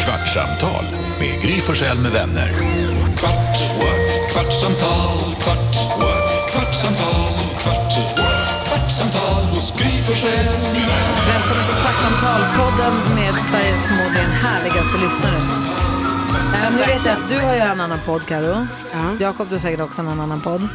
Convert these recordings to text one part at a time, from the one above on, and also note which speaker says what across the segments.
Speaker 1: Kvartsamtal med Gry Forssell med vänner. Kvart, what? kvartsamtal, kvart, what? kvartsamtal, kvart, what? kvartsamtal hos Gry Forssell med vänner.
Speaker 2: Välkommen till Kvartsamtal-podden med Sveriges förmodligen härligaste lyssnare. Äh, nu vet jag att du har ju en annan podd, Karo. Jakob, du har säkert också en annan podd.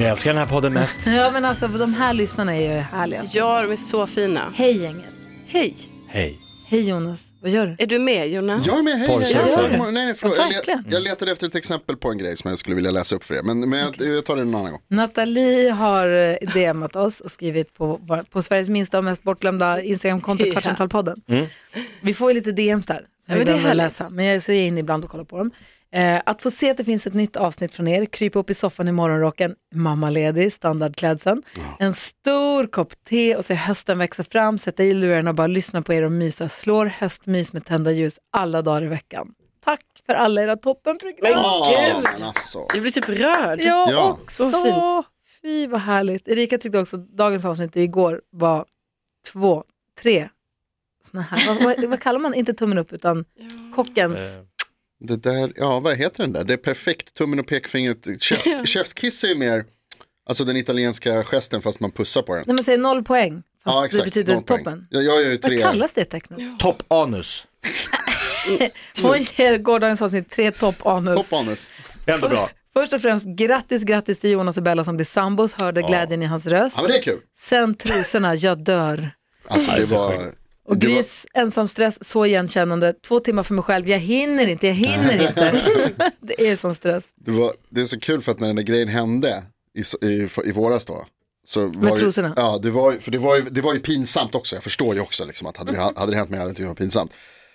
Speaker 3: Jag älskar den här podden mest.
Speaker 2: Ja, men alltså de här lyssnarna är ju härligast.
Speaker 4: Alltså. Ja, de är så fina.
Speaker 2: Hej gänget.
Speaker 4: Hej,
Speaker 3: Hej.
Speaker 2: Hej Jonas. Vad gör du?
Speaker 4: är du med Jonas?
Speaker 5: Jag är med, hej, hej,
Speaker 3: Porrsurfare.
Speaker 5: hej. Nej, nej, förlåt.
Speaker 2: Ja,
Speaker 5: Jag,
Speaker 2: verkligen.
Speaker 5: let, jag letade efter ett exempel på en grej som jag skulle vilja läsa upp för er. Men, men jag, jag tar det en annan gång.
Speaker 2: Nathalie har eh, DMat oss och skrivit på, vår- på Sveriges minsta och mest bortglömda Instagramkonto
Speaker 4: Ja.
Speaker 2: Kvartsamtalpodden. Vi får ju lite DMs där som
Speaker 4: Ja,
Speaker 2: vi
Speaker 4: men det är
Speaker 2: behöver
Speaker 4: härligt.
Speaker 2: läsa, men jag så är jag inne ibland och kollar på dem. Eh, att få se att det finns ett nytt avsnitt från er, krypa upp i soffan i morgonrocken, mammaledig, standardklädseln, en stor kopp te och se hösten växa fram, sätta i lurarna och bara lyssna på er och mysa, slår höstmys med tända ljus alla dagar i veckan. Tack för alla era toppenprogram.
Speaker 5: Åh, men alltså.
Speaker 4: Jag blir typ rörd.
Speaker 2: Ja,
Speaker 5: Ja.
Speaker 2: också.
Speaker 4: Så fint.
Speaker 2: Fy vad härligt. Erika tyckte också att dagens avsnitt igår var två, tre såna här, vad, vad, vad kallar man, inte tummen upp utan kockens,
Speaker 5: Eh.
Speaker 3: Eh,
Speaker 5: Det där, ja vad heter den där? Det är perfekt, tummen och pekfingret. Chefs, chefskiss är ju mer, alltså den italienska gesten fast man pussar på den.
Speaker 2: när man säger noll poäng, fast
Speaker 5: ja
Speaker 2: det betyder
Speaker 5: noll poäng.
Speaker 2: toppen.
Speaker 5: Ja, jag gör ju
Speaker 2: Vad
Speaker 5: tre.
Speaker 2: kallas det tekniskt?
Speaker 3: Toppanus.
Speaker 2: Hon ger gårdagens avsnitt tre toppanus.
Speaker 5: Toppanus.
Speaker 3: Ändå bra.
Speaker 2: Först och främst grattis, grattis till Jonas och Bella som blir sambos, hörde glädjen i hans röst.
Speaker 5: Ja men det är kul.
Speaker 2: Sen trosorna, jag dör.
Speaker 5: Alltså det var...
Speaker 2: Och
Speaker 5: det var-
Speaker 2: Grys ensamstress, så igenkännande. Två timmar för mig själv, jag hinner inte, jag hinner inte. det är sån stress.
Speaker 5: Det, var, det är så kul för att när den där grejen hände i, s- i, i våras då. Så var ju-
Speaker 2: trosorna?
Speaker 5: Ja, det var, ju- för det var, ju, det var ju pinsamt också. Jag förstår ju också liksom, att hade det, hade det hänt mig hade jag tyckt det var pinsamt.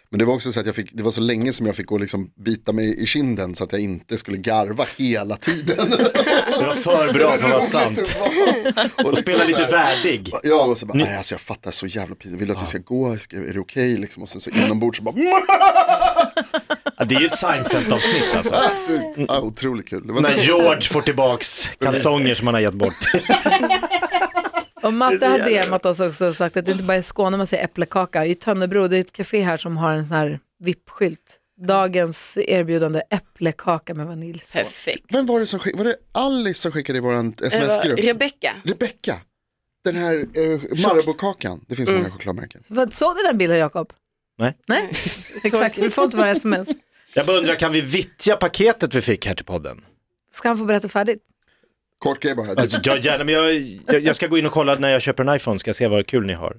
Speaker 5: Men det var också så att jag fick, det var så länge som jag fick gå och liksom bita mig i kinden så att jag inte skulle garva hela tiden.
Speaker 3: Det var för bra för att vara sant.
Speaker 5: och
Speaker 3: Och spela lite
Speaker 5: värre.
Speaker 3: värdig.
Speaker 5: Ja, och så bara, nej alltså jag fattar så jävla pinsamt. Vill du att vi ska gå? Ska- Är det okej liksom? Och sen så inombords så bara,
Speaker 3: Ja, Det är ju ett Seinfeld-avsnitt alltså.
Speaker 5: alltså, ja, otroligt kul. Det var
Speaker 3: När George får tillbaks kalsonger som han har gett bort.
Speaker 2: Och Matte har DMat oss också och sagt att det inte bara är i Skåne man säger äpplekaka. I Tönnebro, det är ett café här som har en sån här vippskylt. Dagens erbjudande äpplekaka med vaniljsås.
Speaker 4: Perfekt.
Speaker 5: Vem var det som skickade, var det Alice som skickade i våran
Speaker 4: Det var
Speaker 6: Eh,
Speaker 5: sms-grupp?
Speaker 4: Rebecka.
Speaker 5: Rebecka, den här eh, Maraboukakan, det finns många chokladmärken.
Speaker 2: Vad Såg du den bilden Jakob?
Speaker 3: Nej.
Speaker 2: Nej, exakt. Du får inte vara sms.
Speaker 3: Jag bara undrar, kan vi vittja paketet vi fick här till podden?
Speaker 2: Ska han få berätta färdigt?
Speaker 5: Kort grej bara,
Speaker 3: Alltså, Jag, gärna, men jag, jag, jag ska gå in och kolla när jag köper en iPhone, ska jag se vad kul ni har.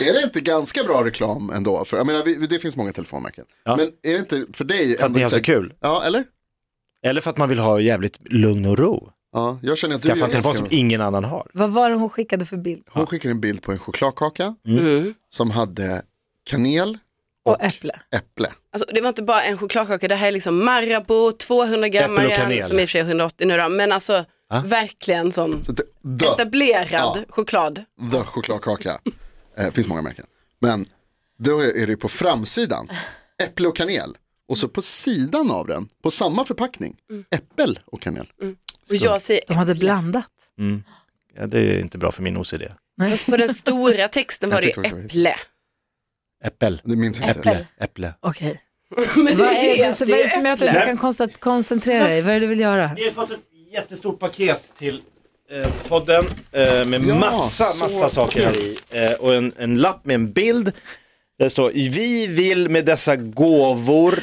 Speaker 5: är det inte ganska bra reklam ändå? För, jag menar, vi, det finns många telefonmärken.
Speaker 3: Ja.
Speaker 5: Men är det inte för dig?
Speaker 3: För att ni har så kul.
Speaker 5: Ja, eller?
Speaker 3: Eller för att man vill ha jävligt lugn och ro.
Speaker 5: Ja, jag känner att du
Speaker 3: Skaffa
Speaker 5: gör
Speaker 3: en telefon
Speaker 5: ganska
Speaker 3: som
Speaker 5: bra.
Speaker 3: ingen annan har.
Speaker 2: Vad var det hon skickade för bild?
Speaker 5: Hon skickade en bild på en chokladkaka
Speaker 3: Mm.
Speaker 5: som hade kanel,
Speaker 2: Och, äpple.
Speaker 5: äpple.
Speaker 4: Alltså, det var inte bara en chokladkaka, det här är liksom Marabou, 200 gram
Speaker 3: Äppel och kanel.
Speaker 4: som i och för sig är 180 nu då, men alltså verkligen sån
Speaker 5: Så det, the,
Speaker 4: etablerad
Speaker 5: Ja.
Speaker 4: choklad.
Speaker 5: the chokladkaka. Eh, finns många märken. Men då är det ju på framsidan, äpple och kanel. Och så på sidan av den, på samma förpackning, äppel och kanel.
Speaker 4: Och jag säger,
Speaker 2: De hade blandat.
Speaker 3: Ja, det är inte bra för min OCD.
Speaker 4: fast på den stora texten var det
Speaker 5: tyckte också
Speaker 4: ju
Speaker 5: det var-
Speaker 4: äpple.
Speaker 3: Äppel,
Speaker 5: Det minns jag inte.
Speaker 3: äpple, äpple.
Speaker 2: Okej.
Speaker 4: Men
Speaker 2: Vad är det, så, vad är det som gör att du inte
Speaker 3: äpple.
Speaker 2: kan konstat- koncentrera dig? Vad är det du vill göra?
Speaker 3: Vi har fått ett jättestort paket till eh, podden eh, med
Speaker 5: Ja,
Speaker 3: massa,
Speaker 5: så
Speaker 3: massa saker här i. Eh, och en, en lapp med en bild. Där det står, vi vill med dessa gåvor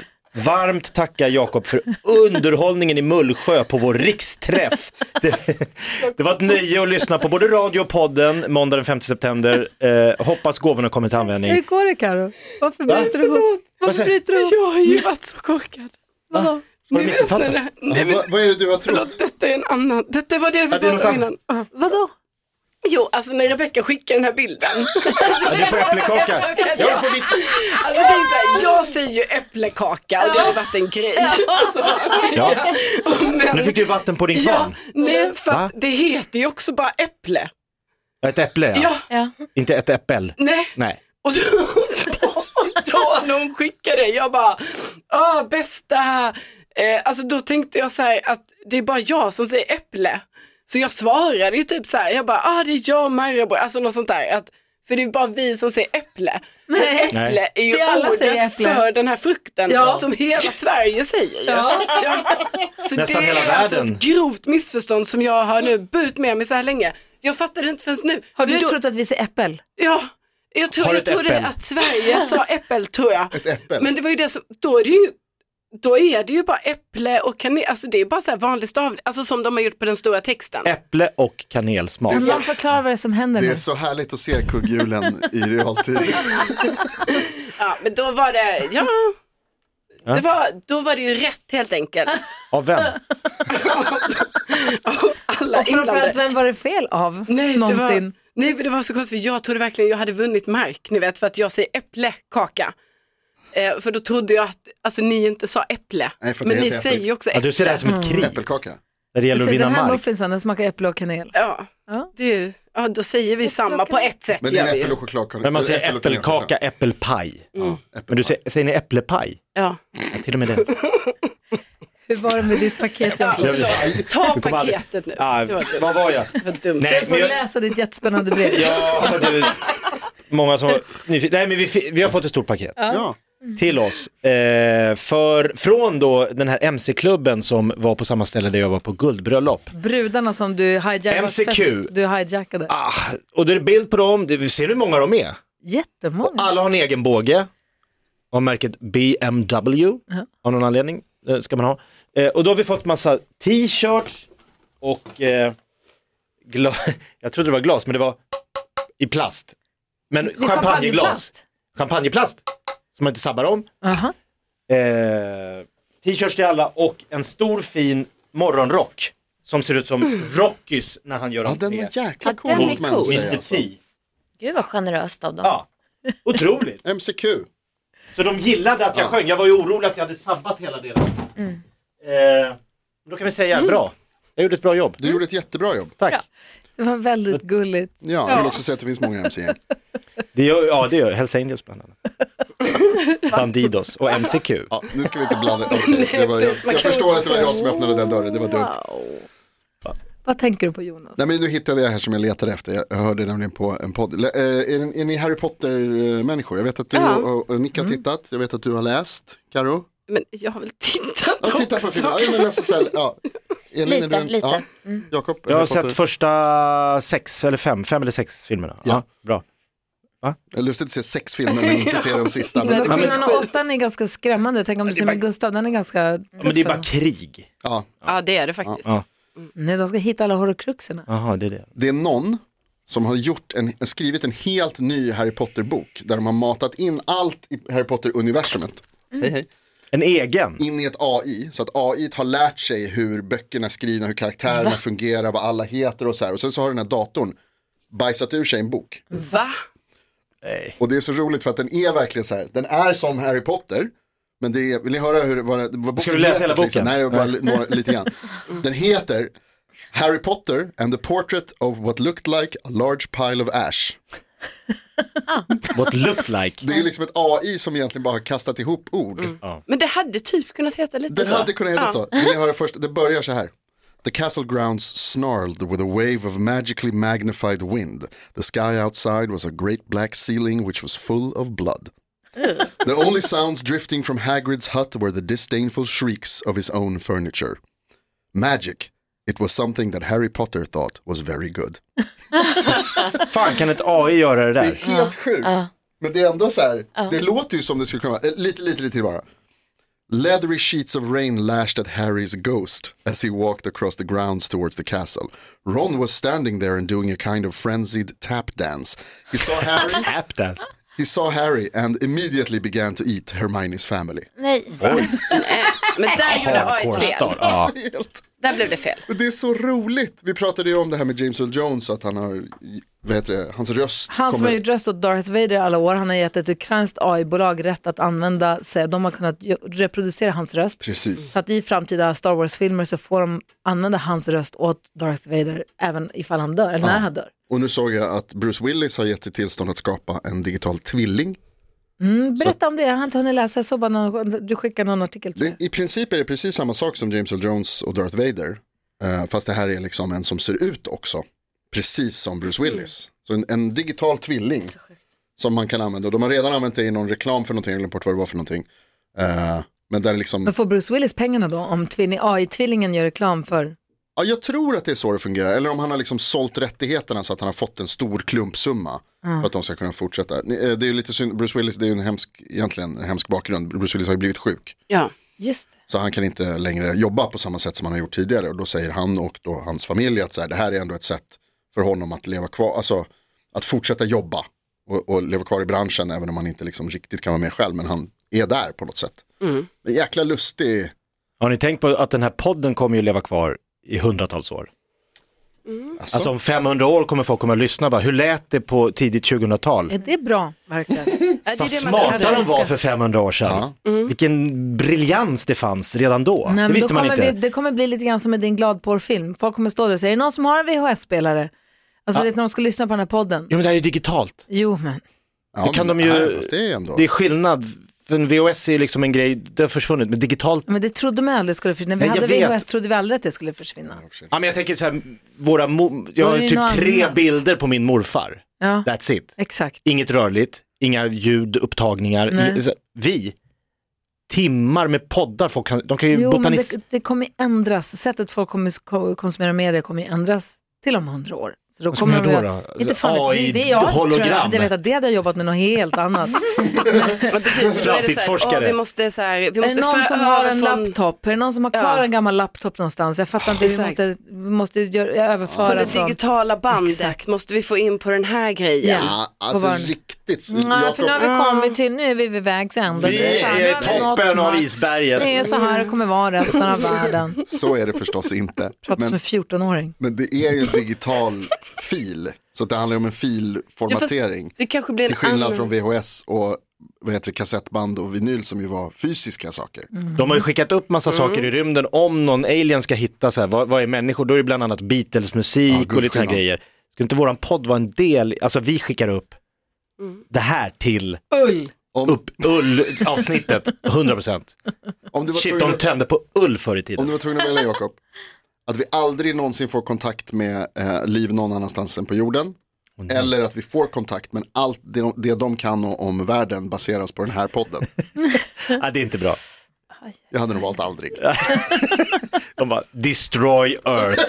Speaker 3: varmt tacka Jakob för underhållningen i Mullsjö på vår riksträff. Det, det var ett nöje att lyssna på både radio och podden måndag den 5 september. Eh, hoppas gåvorna kommer till användning.
Speaker 2: Hur går det Karo? Varför bryter du ihop? Varför
Speaker 3: säger-
Speaker 2: bryter du ihop?
Speaker 6: Jag har ju varit så korkad.
Speaker 2: Vadå?
Speaker 3: Har du missuppfattat?
Speaker 6: Nej, nej,
Speaker 5: Ja,
Speaker 6: men,
Speaker 5: vad, vad är det du har
Speaker 6: förlåt,
Speaker 5: trott?
Speaker 6: detta är en annan. Detta var det vi
Speaker 3: Ja, det är något
Speaker 6: pratade om innan. Ja.
Speaker 2: Vadå?
Speaker 6: Jo, alltså när Rebecka skickar den här bilden.
Speaker 3: Ja, Du får äppelkaka. Jag är på ditt...
Speaker 6: Alltså det är så här, jag säger ju äpplekaka och det har varit en grej. Alltså,
Speaker 3: Ja. Nu
Speaker 6: men,
Speaker 3: fick du vatten på din
Speaker 6: ja,
Speaker 3: kvarn.
Speaker 6: nej, för
Speaker 3: Va?
Speaker 6: att det heter ju också bara äpple.
Speaker 3: Ett äpple ja.
Speaker 6: Ja,
Speaker 2: Ja.
Speaker 3: Inte ett äppel.
Speaker 6: nej.
Speaker 3: Nej.
Speaker 6: Och då, och då när hon skickade det, jag bara, ah, bästa, eh, alltså då tänkte jag så här att det är bara jag som säger äpple. Så jag svarade ju typ så här, jag bara, ah det är jag Marabou, alltså något sånt där. Att, För det är ju bara vi som säger äpple. Men
Speaker 2: Nej.
Speaker 6: Äpple
Speaker 3: Nej.
Speaker 6: är ju
Speaker 2: Vi alla
Speaker 6: ordet
Speaker 2: säger äpple.
Speaker 6: för den här frukten
Speaker 2: Ja.
Speaker 6: som hela Sverige säger. ju. Ja. Så
Speaker 3: Nästan
Speaker 6: det
Speaker 3: hela
Speaker 6: är alltså
Speaker 3: världen.
Speaker 6: ett grovt missförstånd som jag har nu burit med mig så här länge. Jag fattar det inte förrän nu.
Speaker 2: Har
Speaker 6: För
Speaker 2: du
Speaker 6: då-
Speaker 2: trott att vi säger äppel?
Speaker 6: Ja, jag, tror,
Speaker 3: Har du
Speaker 6: jag
Speaker 3: ett
Speaker 6: trodde
Speaker 3: äppel?
Speaker 6: att Sverige sa äppel tror jag.
Speaker 5: Ett äppel.
Speaker 6: Men det var ju det som, då är det ju, då är det ju bara äpple och kanel, alltså det är bara så här vanlig stavning, alltså som de har gjort på den stora texten.
Speaker 3: Äpple och kanelsmak.
Speaker 5: Det är
Speaker 2: Kan
Speaker 5: så-
Speaker 2: någon förklara vad det är som händer
Speaker 5: Det
Speaker 2: nu?
Speaker 5: är så härligt att se kugghjulen i realtid.
Speaker 6: Ja, men då var det, ja, det var, då var det ju rätt helt enkelt.
Speaker 3: Av vem?
Speaker 6: Alla
Speaker 2: Och framförallt,
Speaker 6: inblandade.
Speaker 2: vem var det fel av
Speaker 6: Nej, det var,
Speaker 2: någonsin?
Speaker 6: nej, men det var så konstigt, för jag trodde verkligen jag hade vunnit mark, ni vet, för att jag säger äpplekaka. Eh, för då trodde jag att, alltså ni inte sa äpple,
Speaker 5: Nej, för att
Speaker 6: men
Speaker 5: det
Speaker 6: ni
Speaker 5: heter
Speaker 6: säger
Speaker 5: äpple.
Speaker 6: ju också
Speaker 3: Ja,
Speaker 6: äpple.
Speaker 3: du ser det här som ett krig
Speaker 5: Mm. Äppelkaka.
Speaker 3: där det gäller
Speaker 2: Så
Speaker 3: att vinna
Speaker 2: den här
Speaker 3: mark.
Speaker 2: muffinsen, den smakar äpple och kanel.
Speaker 6: Ja,
Speaker 2: Ja.
Speaker 6: det, ja då säger vi samma på ett sätt.
Speaker 5: Men det är
Speaker 6: gör
Speaker 5: en
Speaker 6: vi ju.
Speaker 5: äppel och chokladkaka.
Speaker 3: Men man
Speaker 5: eller
Speaker 3: säger
Speaker 5: äppel och kanelkaka.
Speaker 3: äppelkaka, äppelpaj.
Speaker 5: Ja, äppel.
Speaker 3: Men du säger, säger ni äpplepaj?
Speaker 6: Ja.
Speaker 3: Ja, till och med det.
Speaker 2: Hur var det med ditt paket? Jag
Speaker 6: Alltså, ta
Speaker 3: Du kommer aldrig-
Speaker 6: paketet nu.
Speaker 3: Ah,
Speaker 6: Det var dumt.
Speaker 3: vad var jag?
Speaker 6: Det var dumt.
Speaker 3: Nej,
Speaker 2: får
Speaker 3: men jag,
Speaker 2: läsa ditt jättespännande brev.
Speaker 3: ja, det är många som nyfikna. Nej, men vi, fi- vi har fått ett stort paket
Speaker 5: Ja,
Speaker 3: till oss. Eh, för, från då den här MC-klubben som var på samma ställe där jag var på guldbröllop.
Speaker 2: Mm. Brudarna som du hijackade.
Speaker 3: MCQ.
Speaker 2: festet Du hijackade.
Speaker 3: Ah, och det är bild på dem, Det- ser du hur många de är?
Speaker 2: Jättemånga.
Speaker 3: Alla har en egen båge av märket BMW av någon anledning. eh, Ska man ha. Eh, och då har vi fått massa t-shirts och eh, gla- jag trodde det var glas men det var i plast. Men
Speaker 2: är
Speaker 3: champagneglas.
Speaker 2: champagneplast.
Speaker 3: Champagneplast. Som man inte sabbar om.
Speaker 2: Aha.
Speaker 3: Eh, t-shirts till alla och en stor fin morgonrock. Som ser ut
Speaker 2: Mm.
Speaker 3: som Rockys när han gör
Speaker 5: ja
Speaker 3: entré.
Speaker 5: den var jäkla cool.
Speaker 7: den är
Speaker 5: måste man
Speaker 7: cool.
Speaker 5: säga,
Speaker 3: Mr
Speaker 5: alltså.
Speaker 3: T.
Speaker 7: Gud vad generöst av dem.
Speaker 3: Ja, otroligt.
Speaker 5: MCQ.
Speaker 3: Så de gillade att jag
Speaker 5: Ja.
Speaker 3: sjöng. Jag var ju orolig att jag hade sabbat hela deras. Eh, då kan vi säga bra. Jag gjorde ett bra jobb.
Speaker 5: Du gjorde ett jättebra jobb.
Speaker 3: Tack.
Speaker 2: Det var väldigt gulligt.
Speaker 5: Ja, jag vill också säga att det finns många MC-gäng.
Speaker 3: Det gör, ja, det gör Hells Angels bland annat. Bandidos och MCQ.
Speaker 5: Ja, nu ska vi inte blanda. okej, det var, jag,
Speaker 6: precis, man
Speaker 5: jag
Speaker 6: kan
Speaker 5: förstår
Speaker 6: inte
Speaker 5: att det var jag som öppnade den dörren, det var dumt.
Speaker 2: Vad tänker du på Jonas?
Speaker 5: Nej men nu hittade jag det här som jag letade efter, jag hörde nämligen på en podd. Le- eh, Är, ni- är ni Harry Potter-människor? Jag vet att du och, och Nick har tittat, jag vet att du har läst, Karo.
Speaker 6: Men jag har väl tittat
Speaker 5: Ja, titta på
Speaker 6: också.
Speaker 5: filmen. Ja, men alltså, så här, ja. Elin,
Speaker 7: Lite,
Speaker 5: är du en-
Speaker 7: lite.
Speaker 5: Ja. Jakob,
Speaker 3: Jag har
Speaker 5: Harry
Speaker 3: sett
Speaker 5: Potter.
Speaker 3: första sex eller fem, fem eller sex filmerna. Ja.
Speaker 5: Ja.
Speaker 3: bra.
Speaker 5: Jag har lustigt att se sex filmer men inte se de sista.
Speaker 2: Men
Speaker 5: Men,
Speaker 2: skillnaden och åttan är ganska skrämmande. Tänk om du ser med Gustav, den är ganska tuff.
Speaker 3: Men det är bara
Speaker 2: ändå.
Speaker 3: krig.
Speaker 5: ja,
Speaker 6: Ja, det är det faktiskt.
Speaker 3: Ja.
Speaker 2: Nej, de ska hitta alla horrokruxerna.
Speaker 3: Jaha, det är det.
Speaker 5: det är någon som har gjort en, skrivit en helt ny Harry Potter-bok där de har matat in allt i Harry Potter-universumet. Hej, hej.
Speaker 3: En egen.
Speaker 5: in i ett AI. Så att AI har lärt sig hur böckerna är skrivna, hur karaktärerna fungerar, vad alla heter och så här. Och sen så har den här datorn bajsat ur sig en bok.
Speaker 6: Va?
Speaker 5: Och det är så roligt för att den är verkligen så här, den är som Harry Potter. Men det är, vill ni höra hur det var? Vad liksom?
Speaker 3: Ska du läsa hela boken?
Speaker 5: Nej, det var bara li- några, lite grann. Den heter Harry Potter and the portrait of what looked like a large pile of ash.
Speaker 3: What looked like.
Speaker 5: Det är liksom ett AI som egentligen bara har kastat ihop ord.
Speaker 6: Men det hade typ kunnat heta lite
Speaker 5: Den
Speaker 6: så.
Speaker 5: hade kunnat heta så. Vill ni höra först? Det börjar så här. The castle grounds snarled with a wave of magically magnified wind. The sky outside was a great black ceiling which was full of blood. the only sounds drifting from Hagrid's hut were the disdainful shrieks of his own furniture. Magic, it was something that Harry Potter thought was very good.
Speaker 3: Fan kan ett AI göra det
Speaker 5: Det är
Speaker 3: där?
Speaker 5: helt sjukt. Men det är ändå så här, det låter ju som det skulle kunna vara, Eh, lite, lite, lite till bara. Leathery sheets of rain lashed at Harry's ghost as he walked across the grounds towards the castle. Ron was standing there and doing a kind of frenzied tap dance. He saw Harry,
Speaker 3: Tapdance.
Speaker 5: he saw Harry and immediately began to eat Hermione's family.
Speaker 7: Nej.
Speaker 6: Men där gjorde AI
Speaker 3: Hardcore
Speaker 6: fel.
Speaker 3: star. Ja.
Speaker 5: Det är helt-
Speaker 6: Där blev det fel.
Speaker 5: Det är så roligt. Vi pratade ju om det här med James Earl Jones, att han har, vad heter det, hans röst
Speaker 2: Han som
Speaker 5: kommer-
Speaker 2: har gjort röst åt Darth Vader i alla år, han har gett ett ukrainskt AI-bolag rätt att använda sig, de har kunnat ju- reproducera hans röst.
Speaker 5: Precis.
Speaker 2: Så att i framtida Star Wars-filmer så får de använda hans röst åt Darth Vader även ifall han dör, eller när han dör.
Speaker 5: Och nu såg jag att Bruce Willis har gett sig tillstånd att skapa en digital tvilling.
Speaker 2: Berätta om det, jag har inte hunnit läsa, jag såg bara någon, du skickade någon artikel till
Speaker 5: Det,
Speaker 2: mig.
Speaker 5: I princip är det precis samma sak som James Earl Jones och Darth Vader. Eh, fast det här är liksom en som ser ut också. precis som Bruce Willis. Så en, en digital tvilling som man kan använda. Och De har redan använt det i någon reklam för någonting, jag glömde bort vad det var för någonting. Eh, men där liksom,
Speaker 2: Men får Bruce Willis pengarna då om tvilling, AI-tvillingen gör reklam för?
Speaker 5: ja, jag tror att det är så det fungerar. Eller om han har liksom sålt rättigheterna så att han har fått en stor klumpsumma för att de ska kunna fortsätta. Ni- eh, Det är ju lite synd, Bruce Willis det är ju en hemsk, egentligen en hemsk bakgrund. Bruce Willis har ju blivit sjuk.
Speaker 6: Ja.
Speaker 2: Just det.
Speaker 5: Så han kan inte längre jobba på samma sätt som han har gjort tidigare. Och då säger han och då hans familj att så här, det här är ändå ett sätt för honom att leva kvar, alltså att fortsätta jobba och, och leva kvar i branschen även om han inte liksom riktigt kan vara med själv. Men han är där på något sätt. Men jäkla lustig,
Speaker 3: Har ni tänkt på att den här podden kommer ju leva kvar i hundratals år?
Speaker 2: Mm.
Speaker 5: alltså,
Speaker 3: Alltså om 500 år kommer folk komma och lyssna bara, hur lät det på tidigt 2000-tal?
Speaker 2: Är det bra, verkligen?
Speaker 4: Ja, det är
Speaker 3: Vad
Speaker 4: det man
Speaker 3: smarta de
Speaker 4: älskar.
Speaker 3: var för 500 år sedan. Vilken briljans det fanns redan då.
Speaker 2: Mm. Nej,
Speaker 3: det
Speaker 2: men
Speaker 3: visste
Speaker 2: då
Speaker 3: man
Speaker 2: kommer
Speaker 3: inte.
Speaker 2: Vi, det kommer bli lite grann som med din gladporrfilm. Folk kommer stå där och säga, är det någon som har en VHS-spelare? Alltså vet, när de ska lyssna på den här podden.
Speaker 3: Jo men det här är digitalt.
Speaker 2: Jo, men
Speaker 5: ja,
Speaker 3: det kan
Speaker 5: men
Speaker 3: de ju-
Speaker 5: här, fast det är ändå.
Speaker 3: Det är skillnad, för en VHS är liksom en grej, det har försvunnit, men digitalt
Speaker 2: Men det trodde man aldrig skulle försvinna. När vi
Speaker 3: Nej, jag
Speaker 2: hade VHS
Speaker 3: vet.
Speaker 2: trodde vi aldrig att det skulle försvinna.
Speaker 3: Ja, men jag tänker så här, våra mo- jag
Speaker 2: Då är
Speaker 3: har
Speaker 2: det
Speaker 3: typ
Speaker 2: något
Speaker 3: tre
Speaker 2: annat.
Speaker 3: bilder på min morfar.
Speaker 2: Ja,
Speaker 3: That's it.
Speaker 2: exakt.
Speaker 3: Inget rörligt, inga ljudupptagningar.
Speaker 2: Nej.
Speaker 3: I- så- Vi, timmar med poddar, folk kan, de kan ju
Speaker 2: Jo, men
Speaker 3: botanis...
Speaker 2: det, det kommer ändras. Sättet folk kommer s- ko- konsumera media kommer ju ändras till om hundra år. Så då
Speaker 3: Vad ska man
Speaker 2: de
Speaker 3: göra
Speaker 2: göra-
Speaker 3: då?
Speaker 2: Inte fan, vet- det, det är jag, tror jag,
Speaker 3: AI-hologram.
Speaker 2: jag vet att det hade jag jobbat med något helt annat.
Speaker 4: Ja, precis. Då är det så här,
Speaker 3: Framtidsforskare.
Speaker 4: åh, vi måste, så här, vi
Speaker 2: är det
Speaker 4: måste
Speaker 2: någon
Speaker 4: föra
Speaker 2: som har
Speaker 4: över
Speaker 2: en
Speaker 4: från,
Speaker 2: laptop? Är det någon som har kvar
Speaker 4: Ja.
Speaker 2: en gammal laptop någonstans? Jag fattar inte, vi
Speaker 4: Exakt.
Speaker 2: måste, vi måste göra, överföra
Speaker 4: från det
Speaker 2: från...
Speaker 4: digitala bandet?
Speaker 2: Exakt.
Speaker 4: Måste vi få in på den här grejen?
Speaker 2: Ja.
Speaker 5: ja,
Speaker 2: På
Speaker 5: alltså
Speaker 2: var-
Speaker 5: riktigt.
Speaker 2: Nej, för
Speaker 5: Jakob-
Speaker 2: nu har vi kommit till, nu är vi vid vägs ände.
Speaker 3: Vi
Speaker 2: Fan, nu
Speaker 3: är
Speaker 2: har vi nått
Speaker 3: toppen av
Speaker 2: max. Det är
Speaker 3: isberget.
Speaker 2: så här det kommer vara resten av världen.
Speaker 5: Så är det förstås inte.
Speaker 2: Prata som
Speaker 5: Men,
Speaker 2: en 14-åring.
Speaker 5: men det är ju en digital fil. Så det handlar ju om
Speaker 4: Ja,
Speaker 5: en
Speaker 4: fast
Speaker 5: filformatering.
Speaker 4: Det kanske blir en
Speaker 5: Till skillnad
Speaker 4: annan...
Speaker 5: från VHS och vad heter det, kassettband och vinyl som ju var fysiska saker.
Speaker 2: Mm.
Speaker 3: De har ju skickat upp massa
Speaker 4: Mm.
Speaker 3: saker i rymden om någon alien ska hitta så här, vad, vad är människor? Då är det bland annat
Speaker 5: Ja,
Speaker 3: Beatles-musik
Speaker 5: gud,
Speaker 3: och lite sådana
Speaker 5: skillnad.
Speaker 3: grejer. Skulle inte våran podd vara en del, alltså vi skickar upp
Speaker 4: Mm.
Speaker 3: det här till
Speaker 2: Ull!
Speaker 5: Om,
Speaker 3: upp ull-avsnittet, 100%.
Speaker 5: om, du var
Speaker 3: Shit,
Speaker 5: tvungen,
Speaker 3: de tände på ull förr i
Speaker 5: om du
Speaker 3: tiden.
Speaker 5: var tvungen att välja Jakob, att vi aldrig någonsin får kontakt med eh, liv någon annanstans än på jorden. Eller att vi får kontakt men allt det, det de kan o- om världen baseras på den här podden.
Speaker 3: Ja, det är inte bra.
Speaker 5: Jag hade nog valt aldrig.
Speaker 3: De bara, destroy earth.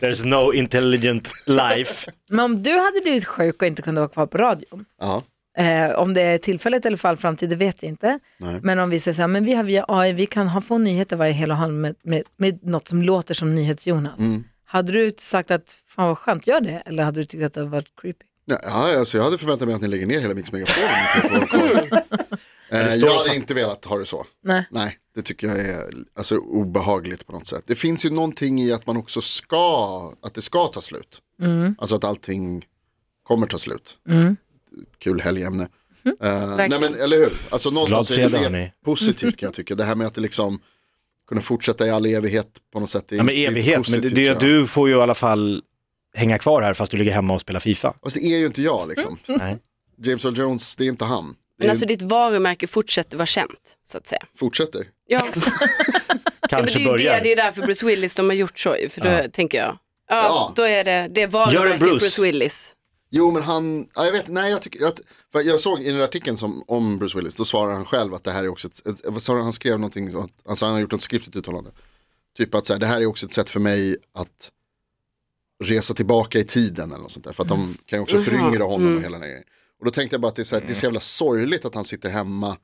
Speaker 3: There's no intelligent life.
Speaker 2: Men om du hade blivit sjuk och inte kunde vara kvar på radion,
Speaker 5: Ja.
Speaker 2: eh, om det är tillfälligt eller fall framtid, det vet jag inte. Men om vi säger så här, men vi har via AI, vi kan ha, få nyheter varje hel och halv med, med, med något som låter som NyhetsJonas.
Speaker 3: Mm.
Speaker 2: Hade du sagt att fan vad skönt, gör det? Eller hade du tyckt att det var creepy?
Speaker 5: Ja, Ja, alltså jag hade förväntat mig att ni lägger ner hela Mix Megapol. om ni kan få vara kvar. Eh,
Speaker 3: står
Speaker 5: jag
Speaker 3: fan-
Speaker 5: hade inte velat ha det så.
Speaker 2: Nej.
Speaker 5: Nej, det tycker jag är alltså, obehagligt på något sätt. Det finns ju någonting i att man också ska, att det ska ta slut.
Speaker 3: Mm.
Speaker 5: Alltså att allting kommer ta slut. Kul helgämne.
Speaker 3: Mhm,
Speaker 5: Eh, nej men eller hur, alltså någonstans
Speaker 3: Glad
Speaker 5: är
Speaker 3: fredag,
Speaker 5: det
Speaker 3: hörni.
Speaker 5: positivt kan jag tycka. Det här med att det liksom kunna fortsätta i all evighet på något sätt. är
Speaker 3: Ja, men
Speaker 5: inte- är
Speaker 3: evighet, men det,
Speaker 5: positivt,
Speaker 3: det,
Speaker 5: tror jag.
Speaker 3: du får ju i alla fall hänga kvar här fast du ligger hemma och spelar Fifa.
Speaker 5: Fast det är ju inte jag liksom.
Speaker 3: Nej.
Speaker 5: James Earl Jones, det är inte han. Det
Speaker 4: Men
Speaker 5: är,
Speaker 4: alltså ditt varumärke fortsätter vara känt, så att säga.
Speaker 5: Fortsätter.
Speaker 4: Ja, ja, men det,
Speaker 3: Kanske
Speaker 4: är ju det,
Speaker 3: börjar.
Speaker 4: det är därför Bruce Willis de har gjort så, ju, för då tänker jag. Ja,
Speaker 5: Ja.
Speaker 4: då är det, det är varumärket
Speaker 3: Bruce.
Speaker 4: Bruce. Willis.
Speaker 5: Jo men han, ja, jag vet, nej jag tycker, jag, för jag såg i den där artikeln som, om Bruce Willis, då svarar han själv att det här är också ett, ett vad sa han, han skrev någonting, så att, alltså han har gjort ett skriftligt uttalande. Typ att så här, det här är också ett sätt för mig att resa tillbaka i tiden eller något sånt där. För att
Speaker 4: Mm.
Speaker 5: de kan ju också föryngra honom och hela den här grejen. Och då tänkte jag bara att det är så, här, det är
Speaker 4: Mm.
Speaker 5: så jävla sorgligt att han sitter hemma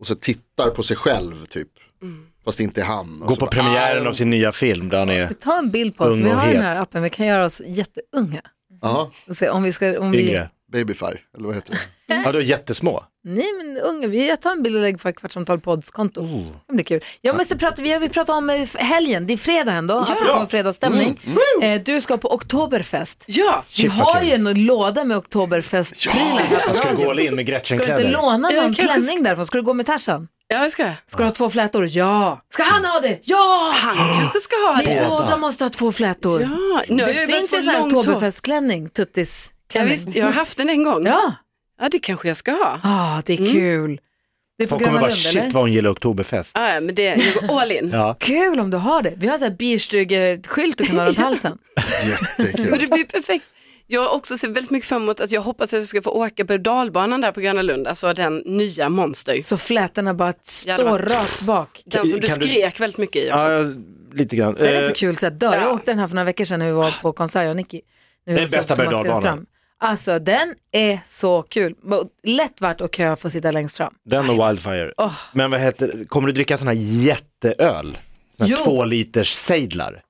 Speaker 5: och så tittar på sig själv typ.
Speaker 4: Mm.
Speaker 5: Fast det inte är han. Och
Speaker 3: Gå
Speaker 5: så
Speaker 3: på
Speaker 5: bara,
Speaker 3: premiären
Speaker 5: "Ah,
Speaker 3: av sin nya film där han är
Speaker 2: Ta en bild på oss,
Speaker 3: Ung
Speaker 2: vi
Speaker 3: och
Speaker 2: har den
Speaker 3: het.
Speaker 2: här appen, vi kan göra oss jätteunga.
Speaker 5: Ja,
Speaker 2: Och se om vi ska, om vi,
Speaker 3: yngre.
Speaker 5: babyfärg, eller vad heter det?
Speaker 3: Ja, då jättesmå.
Speaker 2: Nej men unge, vi jag tar en bild och lägger på Kvartsamtal poddskonto.
Speaker 6: Oh.
Speaker 2: Det blir kul. Jag måste prata, vi har vi pratat om eh, f- helgen, det är fredag ändå, apropå fredagsstämning. Eh, du ska på Oktoberfest.
Speaker 6: Mm. Ja.
Speaker 2: vi
Speaker 3: vad
Speaker 2: har
Speaker 3: kul.
Speaker 2: ju en låda med Oktoberfest-prylar här på
Speaker 3: Jag ska
Speaker 2: radion.
Speaker 3: gå all in med
Speaker 2: Ska du inte
Speaker 3: Gretchen-kläder.
Speaker 2: låna
Speaker 6: Jag
Speaker 2: någon
Speaker 6: kanske
Speaker 2: klänning därifrån? Ska du gå med Tarzan?
Speaker 6: ja, det ska jag.
Speaker 2: Ska du ha två flätor? Ja! Ska han ha det? Ja! Han
Speaker 6: kanske ska ha det.
Speaker 2: Ni båda måste ha två flätor.
Speaker 6: Ja, nu har jag
Speaker 2: Det
Speaker 6: ju varit
Speaker 2: finns
Speaker 6: så
Speaker 2: ju en sån här
Speaker 6: långt hår.
Speaker 2: Oktoberfestklänning,
Speaker 6: Ja,
Speaker 2: tuttisklänning.
Speaker 6: visst, jag har haft den en gång.
Speaker 2: Ja,
Speaker 6: Ja, det kanske jag ska ha.
Speaker 2: ah, det är kul. Det är på
Speaker 3: Folk kommer
Speaker 2: Gröna
Speaker 3: bara,
Speaker 2: Lund
Speaker 3: shit
Speaker 2: eller?
Speaker 3: vad hon gillar Oktoberfest.
Speaker 6: Ja, ja, men det, jag går all in.
Speaker 3: Ja.
Speaker 2: Kul om du har det. Vi har så här bierstugeskylt du kan ha runt halsen.
Speaker 6: Men
Speaker 5: Jättekul.
Speaker 6: det blir perfekt. Jag har också sett väldigt mycket fram emot att jag hoppas att jag ska få åka pedalbanan där på Gröna Lund, alltså den nya monster.
Speaker 2: Så flätorna bara
Speaker 6: Ja, det
Speaker 2: står
Speaker 6: var-
Speaker 2: rakt bak.
Speaker 6: Den som du
Speaker 3: Kan du-
Speaker 6: skrek väldigt mycket i.
Speaker 3: Ja, lite grann.
Speaker 2: Så är det
Speaker 3: Eh,
Speaker 2: så kul så att dör. Jag åkte den här för några veckor sedan när vi var på konsert, jag och Nicky. När vi
Speaker 3: Det är
Speaker 2: var hos
Speaker 3: bästa
Speaker 2: Thomas
Speaker 3: berg- och dalbanan.
Speaker 2: Stenström. Alltså den är så kul. Lätt värt att köa för att sitta längst fram.
Speaker 3: Den och Wildfire. Men vad heter, kommer du dricka sån här jätteöl? Sån
Speaker 2: Jo.
Speaker 3: här två liters sejdlar?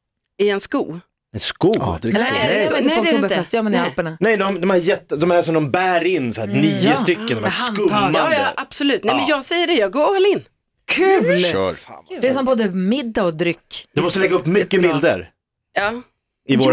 Speaker 6: I en sko.
Speaker 3: En sko?
Speaker 5: Ja, det är
Speaker 2: Nej, det gör man liksom inte på
Speaker 6: Nej, det är det inte.
Speaker 2: Oktoberfest, det gör man i
Speaker 6: Nej.
Speaker 2: Alperna.
Speaker 3: Nej, de, de, här jätte, de här som de bär in, så här, nio
Speaker 2: Mm. ja.
Speaker 3: stycken, de här
Speaker 2: Med handtag.
Speaker 3: skummande.
Speaker 6: Ja, ja, absolut. Nej, men jag säger det, jag går all in.
Speaker 2: Kul!
Speaker 5: Kör.
Speaker 2: Det är som både middag och dryck.
Speaker 3: Du måste lägga upp mycket bilder
Speaker 6: Ja.
Speaker 3: i vår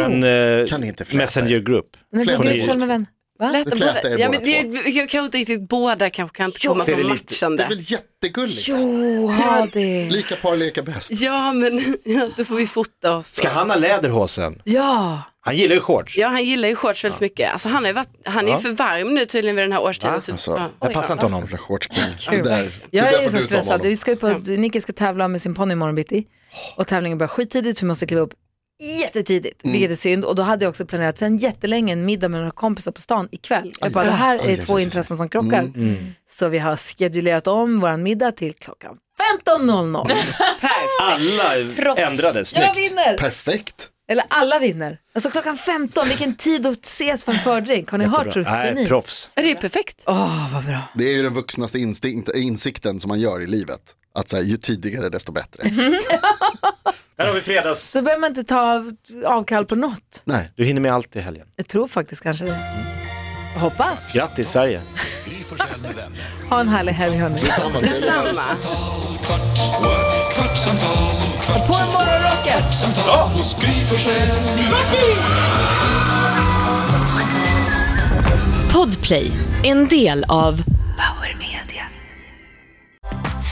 Speaker 5: Kan ni inte fläta?
Speaker 3: Messenger-grupp.
Speaker 2: Men det
Speaker 5: Flätor
Speaker 2: ligger
Speaker 5: i
Speaker 2: upp själv med vän. Va?
Speaker 6: Lät
Speaker 5: Det flätar er
Speaker 6: ja, men
Speaker 5: båda
Speaker 6: det, jag kan inte riktigt, båda kanske kan inte komma
Speaker 3: Ser det
Speaker 6: som
Speaker 3: lite-
Speaker 5: Det är
Speaker 6: matchande.
Speaker 5: väl jättegulligt?
Speaker 2: Jo, ha det.
Speaker 5: Lika par leker bäst.
Speaker 6: Ja, men ja, då får vi fota oss.
Speaker 3: Ska han ha läderhosen?
Speaker 2: Ja,
Speaker 3: Han gillar ju shorts.
Speaker 6: Ja, han gillar ju shorts väldigt mycket. Alltså, han, har ju varit, han är ju för varm nu tydligen vid den här årstiden. Så,
Speaker 5: Alltså,
Speaker 6: ja.
Speaker 3: Det passar inte honom.
Speaker 5: Jävla shortskink. Det
Speaker 2: Kul.
Speaker 5: där- det där
Speaker 2: Jag är
Speaker 5: får
Speaker 2: så
Speaker 5: du ta
Speaker 2: stressad.
Speaker 5: honom.
Speaker 2: Vi ska ju på, Nicky ska tävla med sin ponny imorgon bitti. Och tävlingen börjar skittidigt så vi måste kliva upp jättetidigt, vilket är synd. Och då hade jag också planerat sen jättelänge en middag med några kompisar på stan ikväll. Jag bara, det här är
Speaker 5: Aj, aj,
Speaker 2: två
Speaker 5: aj, aj.
Speaker 2: intressen som krockar. Så vi har schedulerat om vår middag till klockan 15.00.
Speaker 3: Alla ändrades,
Speaker 2: Jag
Speaker 3: snyggt.
Speaker 2: vinner!
Speaker 5: Perfekt.
Speaker 2: Eller alla vinner. Alltså klockan 15, vilken tid att ses för en fördrink. Har ni hört hur
Speaker 3: Nej,
Speaker 2: geni?
Speaker 3: proffs.
Speaker 6: Ja, Det är perfekt.
Speaker 2: Åh, vad bra.
Speaker 5: Det är ju den vuxnaste instinkt, insikten som man gör i livet. Att så här, ju tidigare desto bättre.
Speaker 3: Här har vi fredags.
Speaker 2: Så behöver man inte ta avkall på något.
Speaker 5: Nej.
Speaker 3: Du hinner med allt i helgen.
Speaker 2: Jag tror faktiskt kanske det. Jag hoppas.
Speaker 3: Grattis Sverige.
Speaker 1: Gry Forssell med vänner.
Speaker 2: Ha en härlig helg hörni.
Speaker 6: Detsamma.
Speaker 1: Kvart, what? kvartsamtal, kvart,
Speaker 2: På morgonrocken!
Speaker 1: kvartsamtal hos Gry Forssell med vänner.
Speaker 8: Podplay, en del av Power Media.